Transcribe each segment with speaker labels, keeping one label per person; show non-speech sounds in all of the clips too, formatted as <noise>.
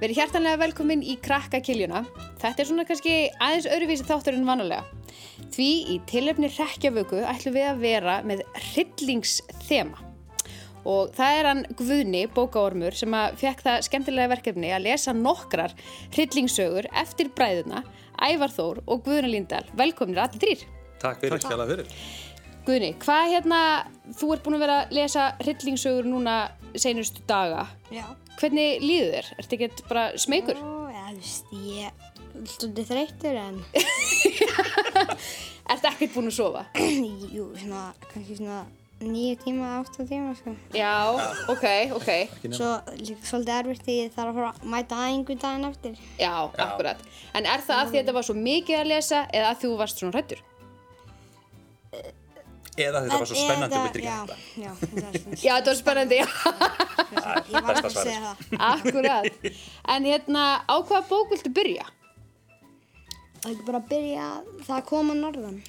Speaker 1: Verið hjartanlega velkomin í Krakkakiljuna. Þetta er svona kannski aðeins öðruvísi þáttur en vanalega. Því í tilefni Rekkjavöku ætlum við að vera með hryllingsþema. Og það er hann Guðni, bókaormur, sem að fekk það skemmtilega verkefni að lesa nokkrar hryllingssögur eftir bræðuna, Ævar Þór og Guðna Lindahl. Velkominir allir þrýr.
Speaker 2: Takk fyrir. Takk hérlega fyrir.
Speaker 1: Guðni, hvað hérna, þú ert búin að vera að lesa hryllingssögur núna seinustu daga.
Speaker 3: Já.
Speaker 1: Hvernig líður þér? Ertu ekkert bara smeykur?
Speaker 3: Ó, já, þú veist, ég er stundir þreyttur en
Speaker 1: Ertu ekkert búin að sofa?
Speaker 3: <clears throat> jú, svona, kannski svona nýju tíma, átta tíma, sko.
Speaker 1: Já, ok, ok.
Speaker 3: Svo líka svolítið erfitt því ég þarf að fara að mæta aðingu daginn eftir.
Speaker 1: Já, akkurat. En er það að því að þetta var svo mikið að lesa eða að þú varst svona hrættur?
Speaker 2: Eða þetta var svo spennandi og
Speaker 3: Eða-
Speaker 2: vildir ekki hætta.
Speaker 3: Já, já, það er svona,
Speaker 1: Já, þetta var spennandi, já,
Speaker 3: ég var ekki
Speaker 2: besta
Speaker 3: að segja
Speaker 2: svarið.
Speaker 3: það.
Speaker 1: <laughs> akkurat. En hérna, á hvaða bók viltu byrja?
Speaker 3: Það er ekki bara að byrja, það kom að norðan.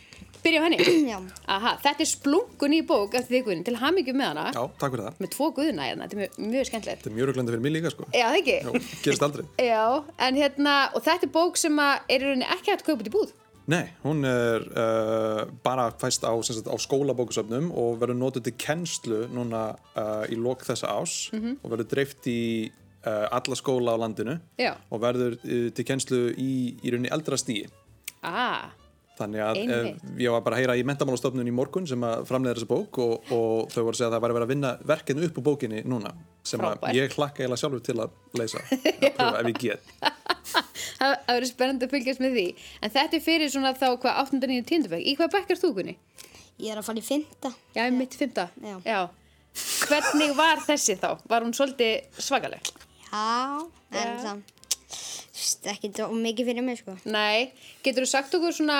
Speaker 1: Byrja á henni?
Speaker 3: Já,
Speaker 1: Aha, þetta er splungun í bók eftir því guðin, til hamingju með hana,
Speaker 4: Já, takk fyrir það.
Speaker 1: með tvo guðina hérna, þetta er mjög, mjög skemmtilegt.
Speaker 4: Þetta er mjög röglandi fyrir mig líka, sko.
Speaker 1: Já, það ekki?
Speaker 4: Já, gerist aldrei.
Speaker 1: Já, en hérna, og þetta er bók sem að er í rauninni ekki hægt kaupið í búð.
Speaker 4: <laughs> Nei, hún er uh, bara fæst á, sem sagt, á skólabókusöfnum og verður notuð til kennslu núna uh, í lok þessa ás
Speaker 3: Mhm.
Speaker 4: og verður dreift í uh, alla skóla á landinu
Speaker 1: Já.
Speaker 4: og verður uh, til kennslu í, í rauninni eldra stíi.
Speaker 1: Ah,
Speaker 4: Þannig að eh,
Speaker 1: Einmitt.
Speaker 4: ég var bara að heyra í mentamálastofnun í morgun sem að framleiða þessa bók og, og þau voru að segja að það væri verið að vinna verkefni upp úr bókinni núna sem
Speaker 1: Frábært.
Speaker 4: að ég hlakka eiginlega sjálfur til að
Speaker 1: <laughs>
Speaker 4: leysa að pröfa ef ég get.
Speaker 1: það það verður spennandi að fylgjast með því. En þetta er fyrir svona þá hvað 8. 9. 10. bekk. Í hvað bekk er þú, Gunni?
Speaker 3: ég er að fara í fynda.
Speaker 1: Já, í mitt fymta.
Speaker 3: Já.
Speaker 1: Hvernig var þessi þá? Var hún svolítið svagaleg?
Speaker 3: Já, en
Speaker 1: Já.
Speaker 3: það, þú veist, ekki dó- mikið fyrir mig, sko.
Speaker 1: Nei, getur þú sagt okkur svona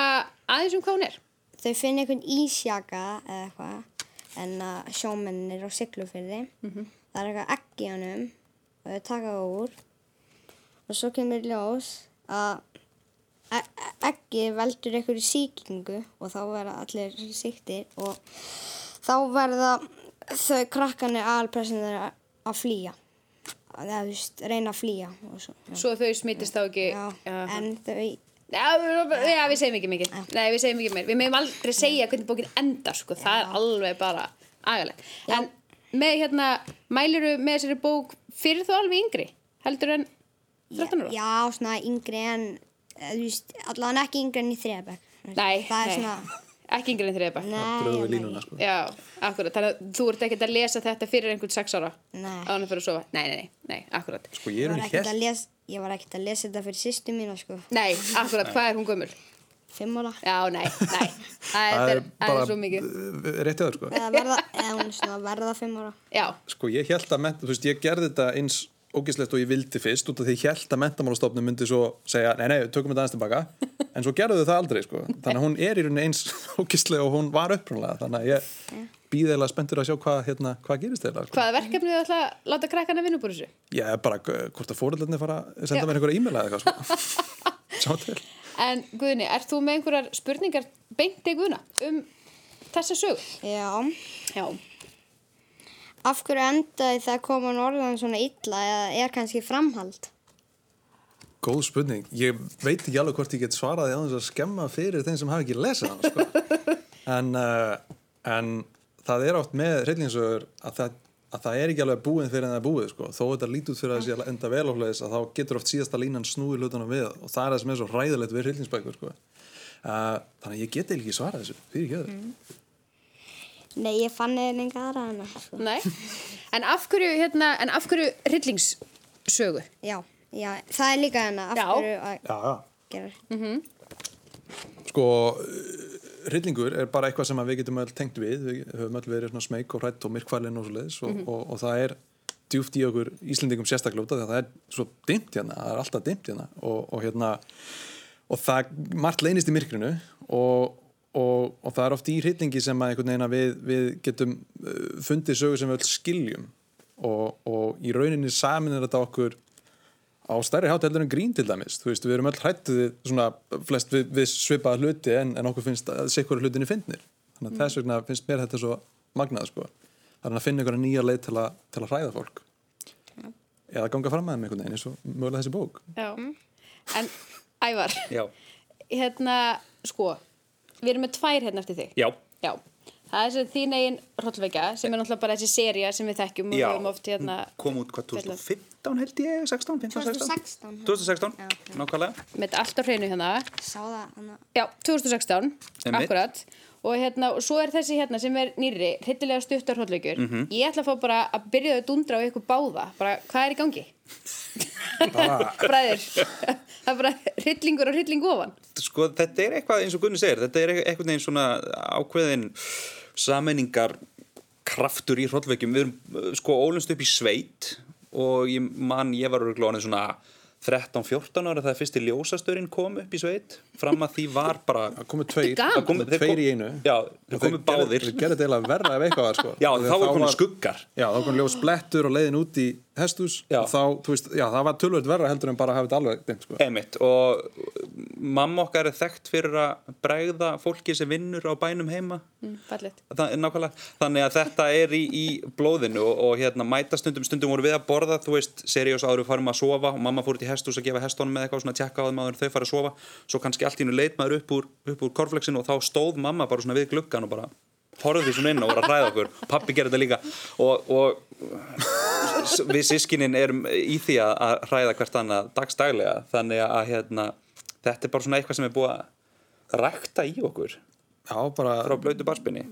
Speaker 1: aðeins um hvað hún er?
Speaker 3: þau finna einhvern ísjaka eða eitthvað en að sjómennir á siglufyrði það er eitthvað egg í honum og þau taka það úr og svo kemur í ljós að e- e- eggið veldur einhverju sýkingu og þá verða allir sýktir og þá verða þau krakkanir aðalpressin þeirra að flýja eða þú veist, reyna að flýja og svo, já.
Speaker 1: Svo þau smittist þá ekki...
Speaker 3: Já,
Speaker 1: Jaha.
Speaker 3: en þau
Speaker 1: Já, við- já, við segjum ekki mikið. Nei, við segjum ekki meir. Við meðum aldrei segja hvernig bókin endar, sko. Það er alveg bara agalegt. En með hérna, mæliru með þessari bók fyrir þú alveg yngri? Heldur en 13 ára?
Speaker 3: Já, svona yngri en, eh, þú veist, allavega ekki yngri en í þriðabæk.
Speaker 1: Nei,
Speaker 3: það er
Speaker 1: nei.
Speaker 3: svona,
Speaker 1: Ekki yngri en þriðja bekk?
Speaker 3: nei,
Speaker 4: Dröðu
Speaker 3: nei.
Speaker 4: við línuna, sko.
Speaker 1: Já, akkurat, þannig að þú ert ekkert að lesa þetta fyrir einhvern sex ára
Speaker 3: Nei.
Speaker 1: Áður en fyrir að sofa, nei, nei, nei, nei, akkurat
Speaker 4: Sko ég
Speaker 3: Ég
Speaker 4: er
Speaker 3: var
Speaker 4: hún
Speaker 3: ekkert
Speaker 4: hér.
Speaker 3: að lesa, ég var ekkert að lesa þetta fyrir sýstu mína, sko,
Speaker 1: Nei, akkurat, hvað er hún gömul?
Speaker 3: fimm <laughs> ára.
Speaker 1: Já, nei, nei, það er, það er svo mikið
Speaker 4: eh, rétt öður, sko.
Speaker 3: Eða verða, eða hún er svona að verða fimm ára.
Speaker 1: Já,
Speaker 4: Sko ég held að, menta, þú veist, ég gerði þetta eins ógislegt og ég vildi fyrst út af því ég held að mentamálastofnum myndi svo segja nei, nei, tökum þetta aðeins tilbaka en svo gerðu þau það aldrei, sko. Þannig að hún er í rauninni eins <laughs> ógislega og hún var upprunlega þannig að ég býð eða spenntur að sjá hvað, hérna, hvað gerist þeirra, sko.
Speaker 1: hvaða verkefni þau ætla að láta krakkana vinna úr þessu? <laughs>
Speaker 4: Ég er bara, eh, hvort að fóreldarnir fara að senda mér einhverja e-mail eða
Speaker 1: <laughs>
Speaker 4: eitthvað, sko. Sjá til.
Speaker 1: En Guðni, ert þú með einhverjar spurningar beint í Guðna um þessa sög?
Speaker 3: Já,
Speaker 1: Já,
Speaker 3: af hverju endaði það að koma norðan svona illa eða er kannski framhald?
Speaker 4: Góð spurning. Ég veit ekki alveg hvort ég get svaraði á þess að skemma fyrir þeim sem hafa ekki lesið hann, sko. en, uh, en það er átt með reyllinsögur að það, að það er ekki alveg búin fyrir en það er búið, sko. Þó þetta lítið út fyrir að það sé að enda vel áhleðis að þá getur oft síðasta línan snúið hlutunum við og það er það sem er svo ræðilegt við reyllinsbækur, sko. Uh, þannig að ég get eiginlega ekki svarað þessu, fyrir ekki öður.
Speaker 3: Nei, ég fann eða enga aðra hana, sko.
Speaker 1: nei En af hverju, hérna, en af hverju rillingssögu?
Speaker 3: Já, já, það er líka hana, af
Speaker 1: Já.
Speaker 3: hverju að
Speaker 4: Já, já.
Speaker 3: gera.
Speaker 4: sko uh, hryllingur er bara eitthvað sem að við getum öll tengt við, við höfum öll verið svona smeyk og hrætt og myrkvælin og svoleiðis og, og, og það er djúft í okkur Íslendingum sérstaklega út af því að það er svo dimmt hérna, það er alltaf dimmt hérna og, og hérna og það margt leynist í myrkrinu og, og, og það er oft í hryllingi sem að einhvern veginn að við, við getum uh, fundið sögur sem við öll skiljum og, og í rauninni samin er þetta okkur á stærri hát heldur en grín til dæmis þú veist, við erum öll hrættu við svona flest við, við svipaða hluti en, en okkur finnst að sikkur hlutinni finnir þannig að
Speaker 1: Mm.
Speaker 4: þess vegna finnst mér þetta svo magnað sko. þannig að finna einhverja nýja leið til að, til að hræða fólk eða ganga fram með þeim einhvern veginn eins og mögulega þessi bók
Speaker 1: Já. En Ævar,
Speaker 2: Já.
Speaker 1: hérna, sko, við erum með tvær hérna eftir þig.
Speaker 2: Já.
Speaker 1: Já. Það er þessi þín eigin hrollvekja sem er náttúrulega bara þessi seria sem við þekkjum og við
Speaker 2: Já.
Speaker 1: höfum oft hérna
Speaker 2: Kom út hvað, 2015 held ég, 16, 15, 16?
Speaker 3: 2016.
Speaker 2: 2016, nákvæmlega.
Speaker 1: með allt á hreinu hérna.
Speaker 3: Sá það hann
Speaker 1: Já, 2016,
Speaker 2: Einmitt.
Speaker 1: akkurat. Og hérna, og svo er þessi hérna sem er nýri, hryllilega stuttar hrollveikjur.
Speaker 2: Mhm.
Speaker 1: Ég ætla að fá bara að byrja að dundra á ykkur báða. Bara, hvað er í gangi? <laughs> Bræður. það er bara hryllingur og hrylling ofan.
Speaker 2: Sko, þetta er eitthvað eins og Gunni segir, þetta er eitthvað neginn svona ákveðin sammenningar kraftur í hrollveikjum. Við erum uh, sko ólumst upp í sveit og ég man, ég var örglóðan svona 13-14 ára þegar fyrsti ljósasturinn kom upp í sveit. Fram að því var bara...
Speaker 4: það komu tveir,
Speaker 1: Þetta er gaman.
Speaker 4: það komu
Speaker 2: Þeir kom-
Speaker 4: tveir í einu
Speaker 2: Já,
Speaker 4: Og
Speaker 2: þeir komu
Speaker 4: gerðu-
Speaker 2: báðir.
Speaker 4: þeir gerðu þetta eiginlega verra ef eitthvað var sko
Speaker 2: Já,
Speaker 4: Og
Speaker 2: þá var komin
Speaker 4: var-
Speaker 2: skuggar.
Speaker 4: Já, þá kom ljós blettur og leiðin út í hestus
Speaker 2: Já.
Speaker 4: og þá, þú veist, já, það var tölvöld verra heldur en bara að hafa þetta alveg dimt, sko.
Speaker 2: Einmitt, og mamma okkar er þekkt fyrir að bregða fólki sem vinnur á bænum heima
Speaker 1: Mm, Fallegt.
Speaker 2: Þa- nákvæmlega, þannig að þetta er í, í blóðinu og, og hérna mæta stundum stundum voru við að borða, þú veist, seriós áður við farum að sofa og mamma fór út í hestús að gefa hestónum með eitthvað svona tjekka á þeim áður en þau fara að sofa svo kannski allt í hennu leit maður upp úr, upp úr korflexinu og þá stóð mamma bara svona við gluggan og bara horfði svona inn og var að hræða okkur pappi gerði þetta líka og, og s- við sískinin erum í því að, að hræða hvert annað dagstaglega þannig að hérna, þetta er bara svona eitthvað sem er búið að rækta í okkur
Speaker 4: Já, bara
Speaker 2: frá blötu barspinni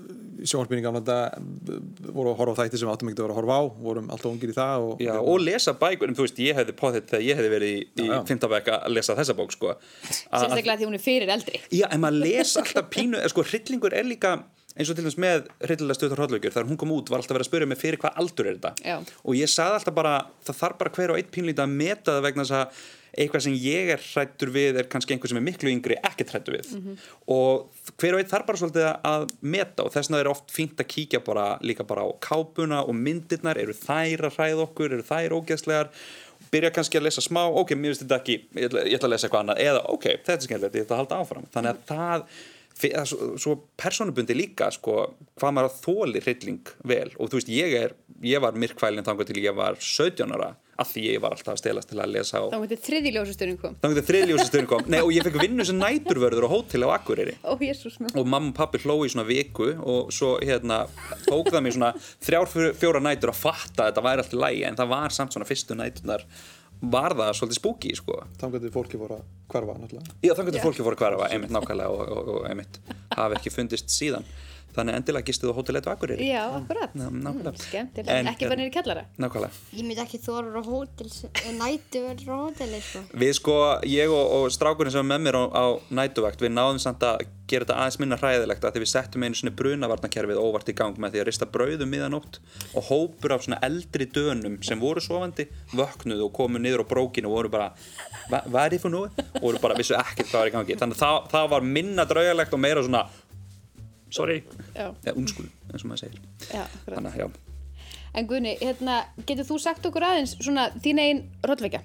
Speaker 4: sjónvarpinni gamla þetta voru að horfa á þætti sem við áttum ekki að vera að horfa á, vorum alltaf ungir í það og, hérna,
Speaker 2: Já, og lesa bækur, en þú veist, ég hefði potið þegar ég hefði verið í, í
Speaker 4: Já, já.
Speaker 2: 15 bekk að lesa þessa bók, sko. A- að-
Speaker 1: Sérstaklega því hún er fyrir eldri.
Speaker 2: Já, en maður les alltaf pínu, eh, sko, hryllingur er líka, eins og til dæmis með hryllilega stöðar hróllaugjur, þegar hún kom út var alltaf verið að spyrja mig fyrir hvað aldur er þetta.
Speaker 1: Já.
Speaker 2: Og ég saði alltaf bara, það þarf bara hver og einn pínlítið að meta það vegna þess að eitthvað sem ég er hrættur við er kannski einhver sem er miklu yngri ekkert hrættur við. Og hver og einn þarf bara svolítið að meta og þess vegna er oft fínt að kíkja bara líka bara á kápuna og myndirnar, eru þær að hræða okkur, eru þær ógeðslegar byrja kannski að lesa smá, ok, mér finnst þetta ekki ég ætla, ég ætla að lesa eitthvað annað, eða ok, þetta er skemmtilegt ég ætla að halda áfram, þannig að það fe- að svo, svo personubundi líka sko, hvað maður þóli hrylling vel og þú veist, ég er, ég var myrkvælin þangar til ég var 17 ára af því ég var alltaf að stelast til að lesa
Speaker 1: Þá
Speaker 2: og
Speaker 1: mútið þriði ljósasturinn kom.
Speaker 2: þangar til þriðljósastöðin kom, nei og ég fekk vinnu sem næturvörður á hótel á Akureyri
Speaker 1: Ó, jésús minn.
Speaker 2: og mamma og pappi hlói í svona viku og svo hérna tók það mér svona þrjár fjó- fjóra nætur að fatta að þetta væri allt í lægi en það var samt svona fyrstu næturnar var það svolítið spooky sko
Speaker 4: þannig að fólki voru að hverfa náttúrulega.
Speaker 2: Já, þannig að fólki fór að hverfa, einmitt nákvæmlega og, og, og einmitt hafi ekki fundist síðan þannig að endilega gistið á hótelet og akkurýri
Speaker 1: Já, akkurat.
Speaker 2: Ná- nákvæmlega.
Speaker 1: Skemmtilega.
Speaker 2: En- hérna,
Speaker 1: En, ekki bara nýri kjallara.
Speaker 2: Nákvæmlega
Speaker 3: Ég myndi ekki þóra á hótel, nætu verður á hóteli, sko.
Speaker 2: Við sko, ég og, og strákurinn sem var með mér á, á nætuvakt, við náðum samt að gera þetta aðeins minna hræðilegt að því við settum einu svona brunavarnakerfið óvart í gang með því að rista brauðum miðanótt og hópur af svona eldri dönum sem voru sofandi vöknuðu og komu niður á brókinu og voru bara, "Hva- hvað er ég fyrir nú? Og voru bara, vissu ekkert hvað var í gangi. Þannig að það, það var minna draugalegt og meira svona, sorry,
Speaker 1: Já.
Speaker 2: eða unskul, eins og maður segir.
Speaker 1: Já, akkurat.
Speaker 2: Þannig að já,
Speaker 1: En Guðni, hérna, getur þú sagt okkur aðeins svona þín eigin rollveikja?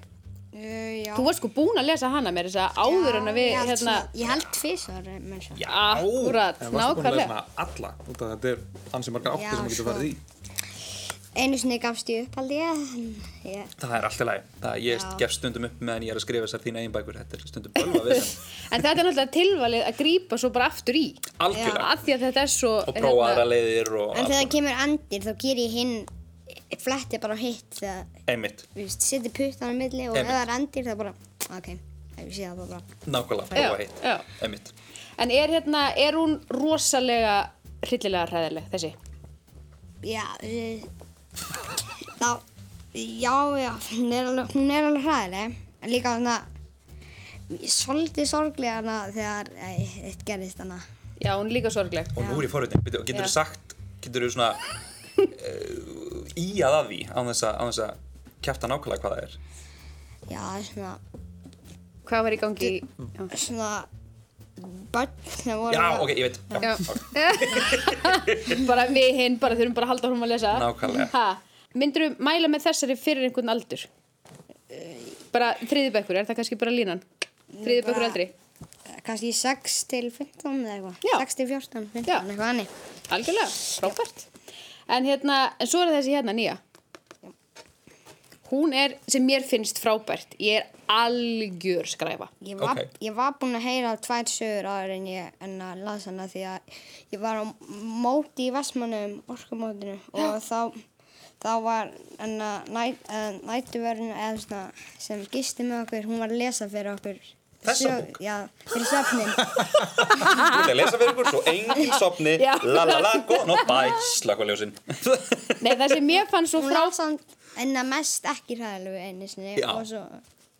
Speaker 3: Uh, já.
Speaker 1: Þú varst sko búin að lesa hana mér þess að áður en að við,
Speaker 3: ég held
Speaker 1: hérna,
Speaker 3: svona- Ég held tvisvar, eh, menn svo.
Speaker 1: Já, akkurat,
Speaker 4: En varstu búin að
Speaker 1: nákvæmlega.
Speaker 4: lesa alla, út af þetta er ansi marga átti
Speaker 3: Já,
Speaker 4: sem maður getur
Speaker 3: sko.
Speaker 4: farið í.
Speaker 3: Einu sinni gafst ég upp, held ég. en ég-
Speaker 2: það er alltaf læg. Það, ég
Speaker 3: Já.
Speaker 2: gef stundum upp meðan ég er að skrifa þessar þína eigin bækur, þetta er stundum bölva við þeim.
Speaker 1: En þetta er náttúrulega tilvalið að grípa svo bara aftur í.
Speaker 2: Algjörlega.
Speaker 1: Af hérna- því að þetta er svo...
Speaker 2: og prófa aðra leiðir og
Speaker 3: En
Speaker 2: allt
Speaker 3: þegar það
Speaker 2: svona.
Speaker 3: kemur andir, þá ger ég hinn, fletti bara á hitt þegar,
Speaker 2: einmitt,
Speaker 3: þú veist, seti puttan á milli og ef
Speaker 2: Einmitt.
Speaker 3: það er andir, þá bara, ok, ef ég sé það þá bara.
Speaker 2: nákvæmlega,
Speaker 1: Já,
Speaker 2: prófa hitt
Speaker 1: já.
Speaker 2: einmitt,
Speaker 1: En er hérna, er hún rosalega hryllilega hræðileg, þessi?
Speaker 3: Já, uh, þá, já, já, hún er alveg, hún er alveg hræðileg. En líka svona, svolítið sorglega hana þegar eh, eitt gerðist hana.
Speaker 1: Já, hún er líka sorgleg.
Speaker 2: og nú er ég forvitin Bíddu, getur
Speaker 1: Já.
Speaker 2: þú sagt, getur þú svona uh, í að að því án þess að, án þess að kjæfta nákvæmlega hvað það er
Speaker 3: Já, svona,
Speaker 1: Hvað var í gangi? í- Já.
Speaker 3: svona, börn sem voru
Speaker 2: já,
Speaker 3: að-
Speaker 2: ok, ég veit, já,
Speaker 1: Já. <laughs>
Speaker 2: ok.
Speaker 1: bara við hinn, bara þurfum bara að halda hún að lesa
Speaker 2: Nákvæmlega.
Speaker 1: ha, Myndirðu mæla með þessari fyrir einhvern aldur? Bara þriðibækur, er það kannski bara línan? Þriðibækur
Speaker 3: bara-
Speaker 1: aldrei
Speaker 3: kannski 6 til 15 eða eitthvað.
Speaker 1: Já.
Speaker 3: 6 til 14, 15,
Speaker 1: Já.
Speaker 3: eitthvað hannig.
Speaker 1: Algjörlega, frábært En hérna, en svo er þessi hérna nýja hún er, sem mér finnst frábært ég er algjör skræfa
Speaker 3: Ég var,
Speaker 2: Ok.
Speaker 3: ég var búin að heyra tvær sögur áður en ég en að las hana því að ég var á móti í Vestmannum, orkumótinu og þá, þá var en að næt, eh, nætuverðin eða svona sem gisti með okkur, hún var að lesa fyrir okkur.
Speaker 2: Þessa
Speaker 3: sög-
Speaker 2: bók?
Speaker 3: Já, fyrir söfnin.
Speaker 2: Ég ætla að lesa fyrir ykkur, svo enginn sopni,
Speaker 1: Já.
Speaker 2: la la la, góðan og bæ, slakka ljósin.
Speaker 1: Nei, það sem mér fannst svo
Speaker 3: Hún
Speaker 1: frá
Speaker 3: las hann en að mest ekki hræðilegu einu sinni
Speaker 2: Já.
Speaker 3: og svo...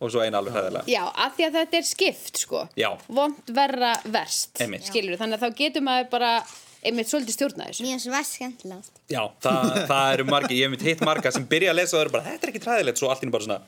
Speaker 2: og svo eina alveg hæðilega.
Speaker 1: Já, af því að þetta er skipt, sko
Speaker 2: Já.
Speaker 1: Vont verra verst
Speaker 2: Einmitt.
Speaker 1: Skilur, þannig að þá getur maður bara einmitt svolítið stjórna þessu
Speaker 3: Mér finnst verst skemmtilegt.
Speaker 2: Já,
Speaker 3: <laughs>
Speaker 2: það, það eru margir, ég hef mitt hitt marga sem byrja að lesa og eru bara, þetta er ekki træðilegt, svo allt í einu bara svona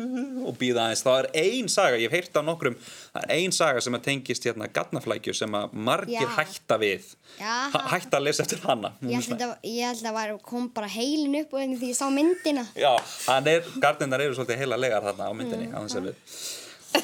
Speaker 2: og býða aðeins. Það er ein saga, ég hef heyrt á nokkrum, það er ein saga sem að tengist hérna gatnaflækju sem að margir
Speaker 3: Já.
Speaker 2: hætta við,
Speaker 3: Já.
Speaker 2: Ha- hætta að lesa eftir hana.
Speaker 3: Ég
Speaker 2: Hún er
Speaker 3: held
Speaker 2: svona-
Speaker 3: að, ég held að var, kom bara heilin upp og því ég sá myndina.
Speaker 2: Já, hann er, gardinnar eru svolítið heila legar þarna á myndinni, á þess að við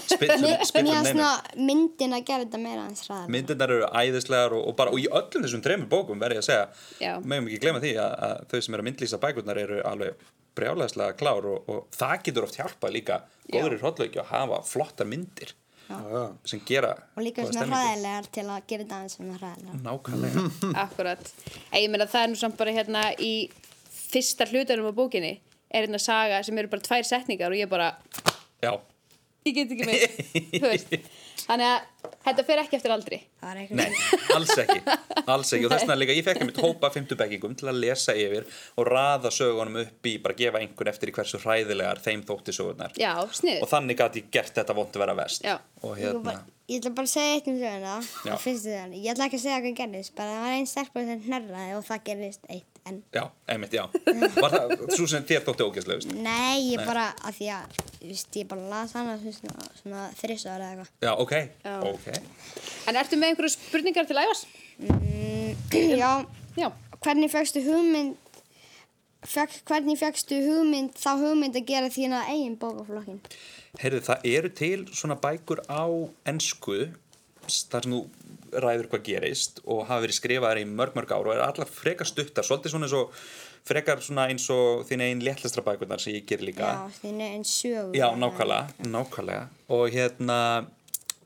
Speaker 2: spillum,
Speaker 3: Mér
Speaker 2: spillum
Speaker 3: finnst
Speaker 2: neinu.
Speaker 3: svona myndin að gera þetta meira hans ræðilega.
Speaker 2: myndirnar eru æðislegar og, og bara og í öllum þessum þreymur bókum verð ég að segja
Speaker 1: Já.
Speaker 2: meðum ekki glemja því að, að þau sem eru að myndlýsa bækurnar eru alveg brjálæðislega klár og, og það getur oft hjálpað líka
Speaker 1: Já.
Speaker 2: góður í hróllauki að hafa flottar myndir
Speaker 4: já, já.
Speaker 2: sem gera
Speaker 3: og líka
Speaker 2: góða
Speaker 3: svona
Speaker 2: stemningu.
Speaker 3: hræðilegar til að gera þetta aðeins svona hræðilegar
Speaker 2: nákvæmlega
Speaker 1: Akkurat En ég meina það er nú samt bara hérna í fyrsta hlutunum á bókinni er hérna saga sem eru bara tvær setningar og ég bara,
Speaker 2: já,
Speaker 1: ég get ekki meir Þú veist.
Speaker 2: <laughs>
Speaker 1: Þannig að þetta fer ekki eftir aldri
Speaker 3: það var
Speaker 2: nei,
Speaker 3: eitthvað
Speaker 2: alls ekki alls ekki og þess vegna líka ég fekk einmitt hópa fimmtubekkingum til að lesa yfir og raða sögunum upp í, bara gefa einhvern eftir í hversu hræðilegar þeim þótti sögurnar
Speaker 1: Já,
Speaker 2: og
Speaker 1: sniður
Speaker 2: þannig gæti ég gert þetta vond að vera vest
Speaker 1: Já.
Speaker 2: og
Speaker 3: Ég
Speaker 2: hérna,
Speaker 3: bara- ég ætla bara að segja eitt um söguna
Speaker 2: Já.
Speaker 3: það finnst þetta ég ætla ekki að segja hvað gerðist bara það var einn stelpa sem hnerraði og það gerðist eitt en
Speaker 2: Já, einmitt, já. Var það svo sem þér þótti ógæslegust?
Speaker 3: nei ég bara að því að þú veist, ég bara las hana þú veist, svona, svona þriss ára eða eitthvað
Speaker 2: Já, ok.
Speaker 1: Já.
Speaker 2: Ok.
Speaker 1: En ertu með einhverju spurningar til æfas?
Speaker 3: <clears throat> já
Speaker 1: Já,
Speaker 3: hvernig fegstu hugmynd fekk, hvernig fegstu hugmynd þá hugmynd að gera þína eigin bókaflokkin
Speaker 2: Heyrðu, það eru til svona bækur á ensku s- þar sem þú ræður hvað gerist og hafa verið skrifaðar í mörg mörg ár og er allar frekar stuttar, svolítið svona eins og frekar svona eins og þín einn léttlastra bækurnar sem ég ger líka.
Speaker 3: já þínu en sögur
Speaker 2: Já, nákvæmlega, nákvæmlega og hérna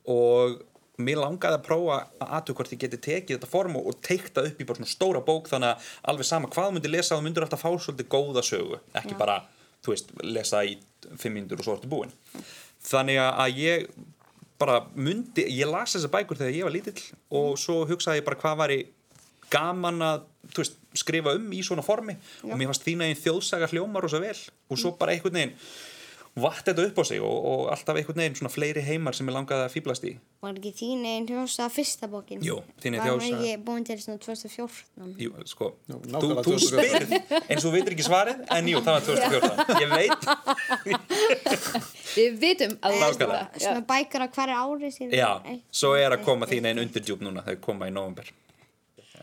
Speaker 2: og mér langaði að prófa að aðtöku hvort ég geti tekið þetta form og, og teikta upp í bara svona stóra bók þannig að alveg sama hvað þú myndir lesa þú myndir alltaf fá svolítið góða sögu ekki bara, þú veist, lesa í fimm myndur og svo ertu búin þannig að ég bara myndi, ég las þessar bækur þegar ég var lítill og svo hugsaði ég bara hvað væri gaman að þú veist, skrifa um í svona formi og mér fannst þína einn þjóðsaga hljómar og svo vel og
Speaker 1: Mm.
Speaker 2: svo bara einhvern veginn vatt þetta upp á sig og, og alltaf einhvern veginn svona fleiri heimar sem ég langaði að fýblast í
Speaker 3: Var ekki þín einn þjósa fyrsta bókin?
Speaker 2: Jú, þín eigin
Speaker 3: Var
Speaker 2: þjóðsaga.
Speaker 3: hún ekki búin til svona 2014?
Speaker 2: Jú, sko,
Speaker 4: Jú,
Speaker 2: þú,
Speaker 4: nákvæmlega
Speaker 2: þú
Speaker 4: 2014.
Speaker 2: spyrð eins og þú veitir ekki svarið, en jú, það var 2014 ég veit,
Speaker 1: við vitum að þú veist
Speaker 2: Nákvæmlega.
Speaker 1: þetta. Já.
Speaker 3: Svona bækur á hverja ári síðan?
Speaker 2: já, svo er að koma þín einn undirdjúb núna, þau koma í november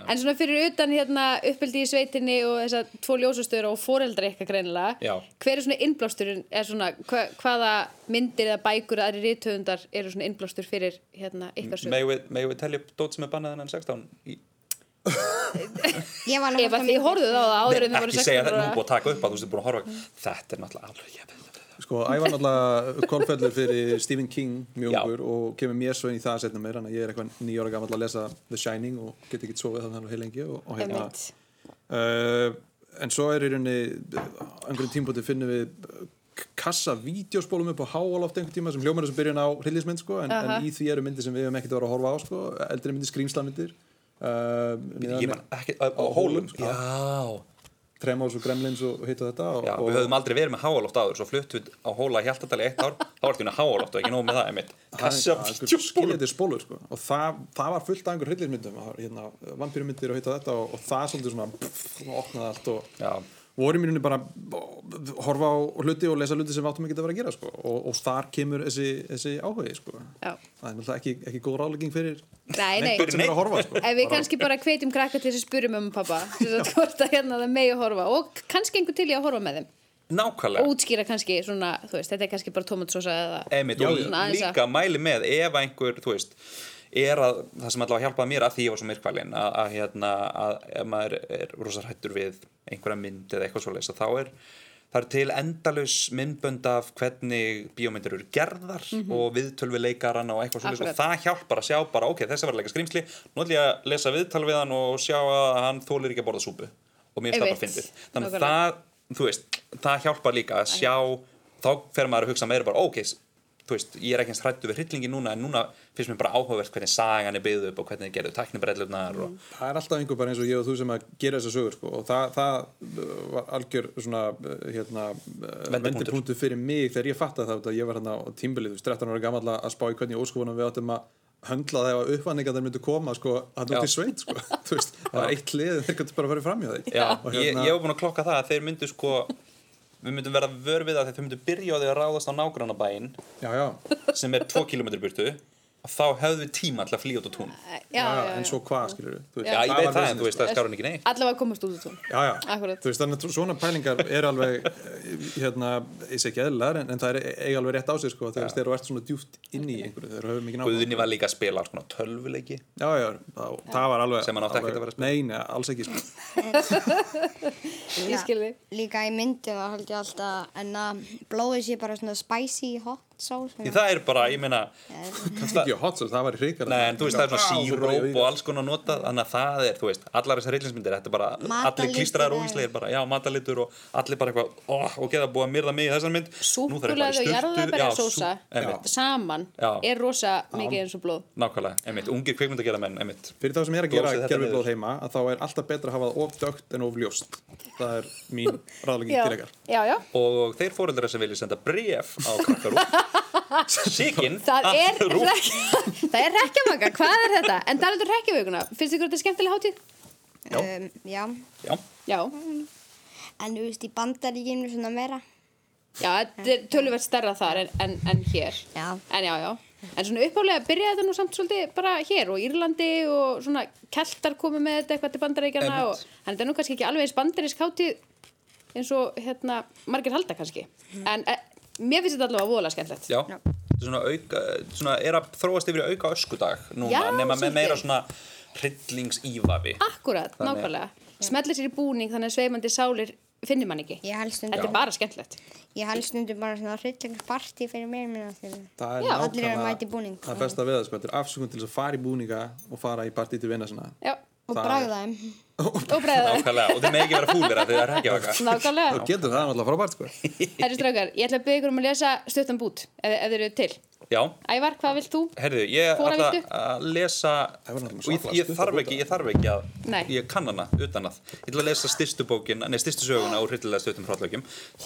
Speaker 1: En svona fyrir utan hérna uppbyldi í sveitinni og þessar tvo ljósastöður og foreldra eitthvað greinilega,
Speaker 2: Já.
Speaker 1: hver er svona innblásturinn, eða svona hva, hvaða myndir eða bækur eða aðri rithöfundar eru svona innblástur fyrir hérna ykkar sögur?
Speaker 2: megum við, megum við telja upp dót sem er bannaðan en 16 í,
Speaker 3: Ég var alveg
Speaker 1: Ef að þið horfðuð á það áður en þið voru
Speaker 2: ekki
Speaker 1: 16
Speaker 2: segja þetta, nú
Speaker 1: ára. Mm.
Speaker 2: er búið að taka upp að þú veist, búin að horfa þetta er náttúrulega alveg, ég veit
Speaker 4: Sko, æfa náttúrulega kolfellur fyrir Stephen King mjög
Speaker 2: Já.
Speaker 4: ungur og kemur mér svo inn í það setna meira en að ég er eitthvað nýjóra gammal að lesa The Shining og get ekki sofið þannig alveg heil lengi og, og hérna
Speaker 1: Einmitt.
Speaker 4: uh, En svo er í rauninni angurinn tímpóti finnum við uh, k- kassa vídeospólum upp á háaloft einhvern tíma sem hljómar þessum byrjun á hryllismynd sko, en,
Speaker 1: Aha.
Speaker 4: en í því eru myndir sem við hefum ekkert að vera að horfa á sko, eldri myndir, skrýmslamyndir uh,
Speaker 2: ég man ekki, á, á hólum sko. já,
Speaker 4: Tremors og Gremlins og hitt og þetta og,
Speaker 2: já,
Speaker 4: og,
Speaker 2: við höfum aldrei verið með háaloft áður svo fluttum við á hóla í Hjaltadali eitt ár þá var þetta háaloft og ekki nóg með það, einmitt kassa vídeospólum
Speaker 4: skiljandi spólur sko. og það, það var fullt af einhver hryllismyndum það var, hérna, vampýrumyndir og heita þetta og, og það svolítið svona pff, opnaði allt og
Speaker 2: Já.
Speaker 4: voru mínunni bara að horfa á hluti og lesa hluti sem við áttum ekki að vera að gera sko. og, og þar kemur þessi, þessi áhugi sko.
Speaker 1: Já.
Speaker 4: það er náttúrulega ekki, ekki góð rálegging fyrir
Speaker 2: um
Speaker 1: Nei, nei.
Speaker 2: Nei,
Speaker 4: sem er að horfa sko.
Speaker 1: Ef við kannski bara hvetjum krakka til þess að spyrja mömmu og pappa til þess að hvort að hérna það megi að horfa og kannski einhver til í að horfa með þeim
Speaker 2: nákvæmlega
Speaker 1: og útskýra kannski svona, þú veist, þetta er kannski bara tomatsósa eða
Speaker 2: Einmitt,
Speaker 4: Já,
Speaker 2: og
Speaker 1: já. Aðeins að-
Speaker 2: líka mæli með ef einhver, þú veist er að, það sem allavega hjálpaði mér að því ég var svo myrkvælin að, að hérna, að ef maður er rosar hættur við einhverja mynd eða eitthvað svoleiðis að þá er Það er til endalaus myndbönd af hvernig bíómyndir eru gerðar og viðtöl við leikarann og eitthvað svona og
Speaker 1: Mhm. Akkurat.
Speaker 2: það hjálpar að sjá bara, ok, þessi var að leika skrýmsli nú ætlum ég að lesa viðtal við hann og sjá að hann þólir ekki að borða súpu og mér finnst það bara
Speaker 1: Einmitt.
Speaker 2: fyndið. Þannig að
Speaker 1: Nákvæmlega.
Speaker 2: það, þú veist, það hjálpar líka að sjá þá fer maður að hugsa meira bara, ok, s- þú veist, ég er ekki eins hrættu við hryllingi núna en núna finnst mér bara áhugavert hvernig sagan er byggð upp og hvernig gerðu tæknibrellunar og
Speaker 4: það er alltaf einhver bara eins og ég og þú sem að gera þessa sögur sko. og það, það uh, var algjör svona uh, hérna,
Speaker 2: Vendipunktur.
Speaker 4: vendipunktu fyrir mig þegar ég fattaði það að ég var hérna á tímbilið 13 ára gammal að spá í hvernig óskofunum við áttum að höndla það ef að uppvanningarnir myndu koma sko, hann út í
Speaker 2: Já.
Speaker 4: sveit sko. <laughs> Þú veist, það var eitt lið þeir gætu bara að fara fram hjá því
Speaker 2: Já,
Speaker 4: Og
Speaker 2: ég,
Speaker 4: hérna-
Speaker 2: ég var búin að klokka það að þeir myndu sko við myndum verða vör við það þegar þeir myndu byrja á því að ráðast á nágrannabæin
Speaker 4: já, já.
Speaker 2: sem er 2 km burtu og þá höfðu við tíma til að flýja út á tún
Speaker 1: já,
Speaker 4: Já,
Speaker 1: já, já.
Speaker 4: en svo hvað skilur við
Speaker 2: Já, ég veit það en þú veist
Speaker 4: já,
Speaker 2: það skar hún ekki neitt
Speaker 1: allavega komast út úr tún
Speaker 4: já.
Speaker 1: Akkúrat.
Speaker 4: Þú veist, þannig að svona pælingar er alveg eh, hérna, ég segi ekki eðlilegar en, en það er eiga alveg rétt á sig sko, þegar þeir eru ert svona djúft inn í einhverju þeir höfum ekki náttúrulega
Speaker 2: Guðni var líka að spila alls konar tölvuleiki
Speaker 4: já, já, það, það var alveg
Speaker 2: Sem hann átti
Speaker 4: alveg-
Speaker 2: ekkert að vera að
Speaker 4: nei, nei, alls ekki sko.
Speaker 1: ég skil þig
Speaker 3: Líka í myndum að held ég alltaf en að blóðið sé bara svona spicy hot sauce.
Speaker 2: Því það er bara, ég meina
Speaker 4: kannski ekki hot sauce, það var hrikar
Speaker 2: Nei, en þú veist, það er svona síróp og alls konar notað Þannig að það er, þú veist, allar þessar rillinsmyndir Þetta er bara, allir
Speaker 3: Matarlykt
Speaker 2: klístraðar
Speaker 3: er-
Speaker 2: og ógíslegir bara Já, matalitur og allir bara eitthvað oh, Og geða búið að myrða mig í þessar mynd Nú þarf ég bara í
Speaker 1: súkulega og jarðabæra
Speaker 2: sturtu. Já,
Speaker 1: sósa
Speaker 2: sú- einmitt.
Speaker 1: saman
Speaker 2: Já.
Speaker 1: er rosa mikið eins og blóð
Speaker 2: Nákvæmlega, einmitt, ungir kvikmyndagerðamenn, einmitt
Speaker 4: fyrir þá sem ég er að
Speaker 2: Glósið
Speaker 4: gera
Speaker 2: þetta
Speaker 4: gerfi blóð
Speaker 2: niður.
Speaker 4: heima að þá er alltaf betra að hafa það of dögt en of ljóst það er
Speaker 3: <laughs>
Speaker 4: mín ráðlegging til ykkar
Speaker 1: já, já
Speaker 2: Og þeir fóreldrar sem vilja senda bref á krakkarú
Speaker 1: <laughs>
Speaker 2: Sikinn
Speaker 1: Það er, rek... <laughs> það er rekkjamanga, hvað er þetta? En það er þetta rekkjavöguna, finnst ykkur þetta skemmtilega hátíð?
Speaker 2: Já.
Speaker 3: Um, já.
Speaker 2: Já,
Speaker 1: Já,
Speaker 3: En þú veist, í bandaríkinu svona meira.
Speaker 1: já, þetta er töluvert stærra þar en, en, en hér.
Speaker 3: Já.
Speaker 1: En já, já. En svona uppálega byrjaði þetta nú samt svolítið bara hér og Írlandi og svona keltar komu með þetta eitthvað til bandaríkjana og þannig þetta er nú kannski ekki alveg eins bandarísk hátíð eins og hérna margir halda kannski.
Speaker 2: Mm.
Speaker 1: En e, mér finnst þetta allavega vola skemmtilegt.
Speaker 2: já Þetta er Svona, auka, svona er að þróast yfir í auka öskudag núna,
Speaker 1: Já,
Speaker 2: nema með
Speaker 1: svolítið.
Speaker 2: meira svona hryllingsývafi
Speaker 1: Akkurat,
Speaker 2: Þannig-
Speaker 1: nákvæmlega. Smellir sér í búning þannig að sveimandi sálir finnir mann ekki.
Speaker 3: Ég helst
Speaker 1: Þetta
Speaker 3: stundum,
Speaker 1: er bara skemmtilegt.
Speaker 3: ég helst stundum bara svona hryllingsparti fyrir mér minna þegar.
Speaker 4: það er
Speaker 1: Já,
Speaker 3: allir eru að mæta í
Speaker 4: nákvæmlega
Speaker 3: búning.
Speaker 4: það besta við það sko, þetta er afsökun til þess að fara í búninga og fara í partí til vinna sinna
Speaker 1: Já,
Speaker 3: Og
Speaker 4: Það er-
Speaker 3: bragða þeim.
Speaker 1: og breiða það.
Speaker 2: Nákvæmlega, og þið með ekki vera fúlir að þið er ekki vaka
Speaker 4: þá
Speaker 1: Nákvæmlega.
Speaker 4: getur það náttúrulega frábært sko.
Speaker 1: Herri strákar, ég ætla að byggja ykkur um að lesa stuttan bút, ef, ef þið eru til.
Speaker 2: Já,
Speaker 1: Ævar, hvað vilt þú?
Speaker 2: heyrðu, ég
Speaker 1: Hvora
Speaker 2: ætla
Speaker 1: viltu?
Speaker 2: að lesa
Speaker 4: Það var náttúrulega
Speaker 2: og ég,
Speaker 4: svakalega
Speaker 2: ég
Speaker 4: stutt
Speaker 2: þarf
Speaker 4: að
Speaker 2: ekki, ég þarf ekki að
Speaker 1: Nei.
Speaker 2: ég kann hana utan að ég ætla að lesa styrstu bókin, nei styrstu söguna úr hryllilega stuttum hrállökjum,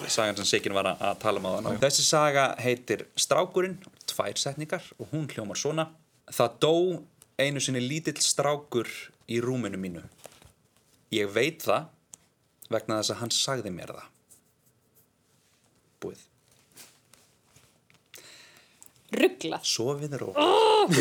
Speaker 2: sagan sem Sikin var að, að tala um á þann þessi saga heitir Strákurinn, tvær setningar og hún hljómar svona það dó einu sinni lítill strákur í rúminu mínu ég veit það vegna þess að hann sagði mér það búið,
Speaker 1: Rugglað.
Speaker 2: sofið ró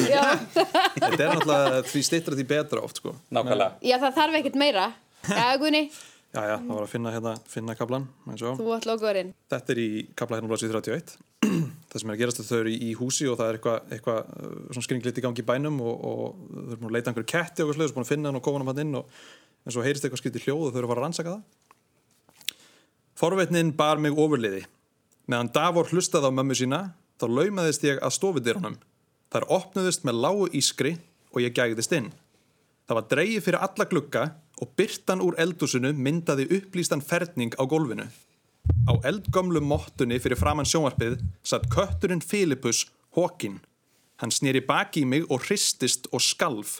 Speaker 1: Já.
Speaker 4: þetta er náttúrulega því stittra því betra oft sko.
Speaker 2: nákvæmlega
Speaker 1: Já, það þarf ekkert meira. Já, Gunni,
Speaker 4: já, já, það var að finna, hérna, finna kablan eins og
Speaker 1: þú átt lokaðurinn.
Speaker 4: Þetta er í kapla hérna á blaðsvið 31 <clears throat> það sem er að gerast að þau eru í í húsi og það er eitthvað eitthva, svona skringlitt í gangi í bænum og, og þau eru búin að leita einhverju ketti og eitthvað sluðis, búin að finna hann og koma hann hann inn og, en svo heyrist eitthvað skrítið hljóð og þau eru að fara að rannsaka það Forvetnin bar mig ofurliði meðan Davor hlustaði á mömmu sína þá laumaðist ég að stofudyrunum þar opnuðust með lágu ískri og ég gægðist inn Það var dreigið fyrir alla glugga og byrtan úr eldúsinu myndaði upplýstan ferning á gólfinu. Á eldgömlu mottunni fyrir framann sjónvarpið satt kötturinn Filipus Hókin. Hann snýri baki í mig og hristist og skalf.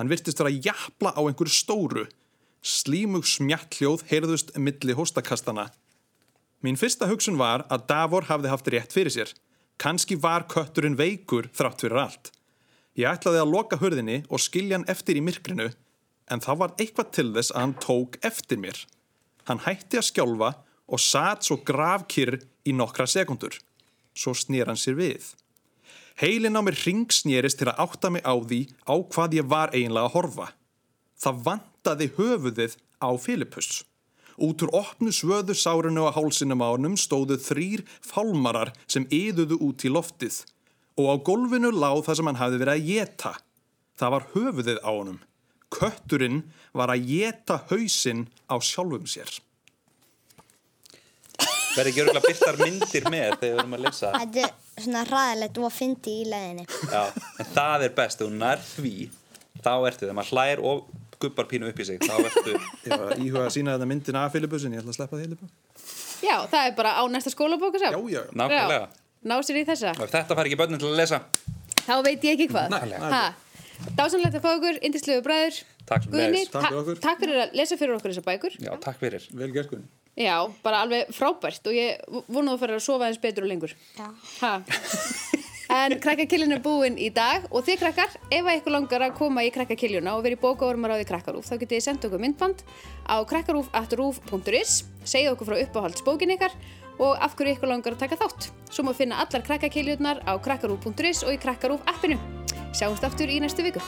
Speaker 4: Hann virtist vera að japla á einhverju stóru. Slímug smjalljóð heyrðust milli hóstakastana. Mín fyrsta hugsun var að Davor hafði haft rétt fyrir sér. Kanski var kötturinn veikur þrátt fyrir allt. Ég ætlaði að loka hurðinni og skilja hann eftir í myrkrinu en það var eitthvað til þess að hann tók eftir mér. Hann hætti að skjálfa og satt svo gravkyrr í nokkra sekundur. Svo snýr hann sér við. Heilin á mér ringsnýrist til að átta mig á því á hvað ég var eiginlega að horfa. Það vantaði höfuðið á Filipus. Út úr opnu svöðu sárinu á hálsinum á honum stóðu þrýr fálmarar sem yðuðu út í loftið og á gólfinu láð það sem hann hafði verið að geta. Það var höfuðið á honum. Kötturinn var að geta hausinn á sjálfum sér.
Speaker 2: verði ekki örgulega byrtar myndir með þegar við erum að lesa
Speaker 3: Þetta er svona hræðilegt og fyndi í leiðinni.
Speaker 2: Já, en það er best, þú nær því þá ertu, þegar maður hlær og gubbar pínu upp í sig, þá ertu
Speaker 4: Ég var að íhuga að sína þetta myndin af Filipusin, ég ætla að sleppa því Filipu.
Speaker 1: Já, það er bara á næsta skólabóka
Speaker 4: Já, já, já.
Speaker 2: nákvæmlega
Speaker 1: Ná sér í þessa,
Speaker 2: og ef þetta fær ekki börnin til að lesa
Speaker 1: þá veit ég ekki hvað
Speaker 4: Nákvæmlega.
Speaker 1: Ha, Dásanlegt að fá ykkur, indislegu bræður
Speaker 2: Takk fyrir
Speaker 1: Guðni,
Speaker 2: leiðis.
Speaker 4: Takk fyrir okkur.
Speaker 1: takk fyrir að lesa fyrir okkur þessar bækur
Speaker 2: Já, takk fyrir
Speaker 4: Vel gert, Guðni.
Speaker 1: Já, bara alveg frábært og ég vonaðu að fara að sofa eins betur og lengur
Speaker 3: Já.
Speaker 1: Ha. En krakkakillin er búinn í dag og þið krakkar, ef að ykkur langar að koma í krakkakiljuna og vera í bókaormaráði krakkarúf þá getið þið senda okkur myndband á krakkarúf.rúf.is segja okkur frá uppáhaldsbókin ykkar og af hverju ykkur langar að taka þátt. Svo má finna allar krakkakiljunar á krakkarúf.is og í krakkarúf appinu. Sjáumst aftur í næstu viku.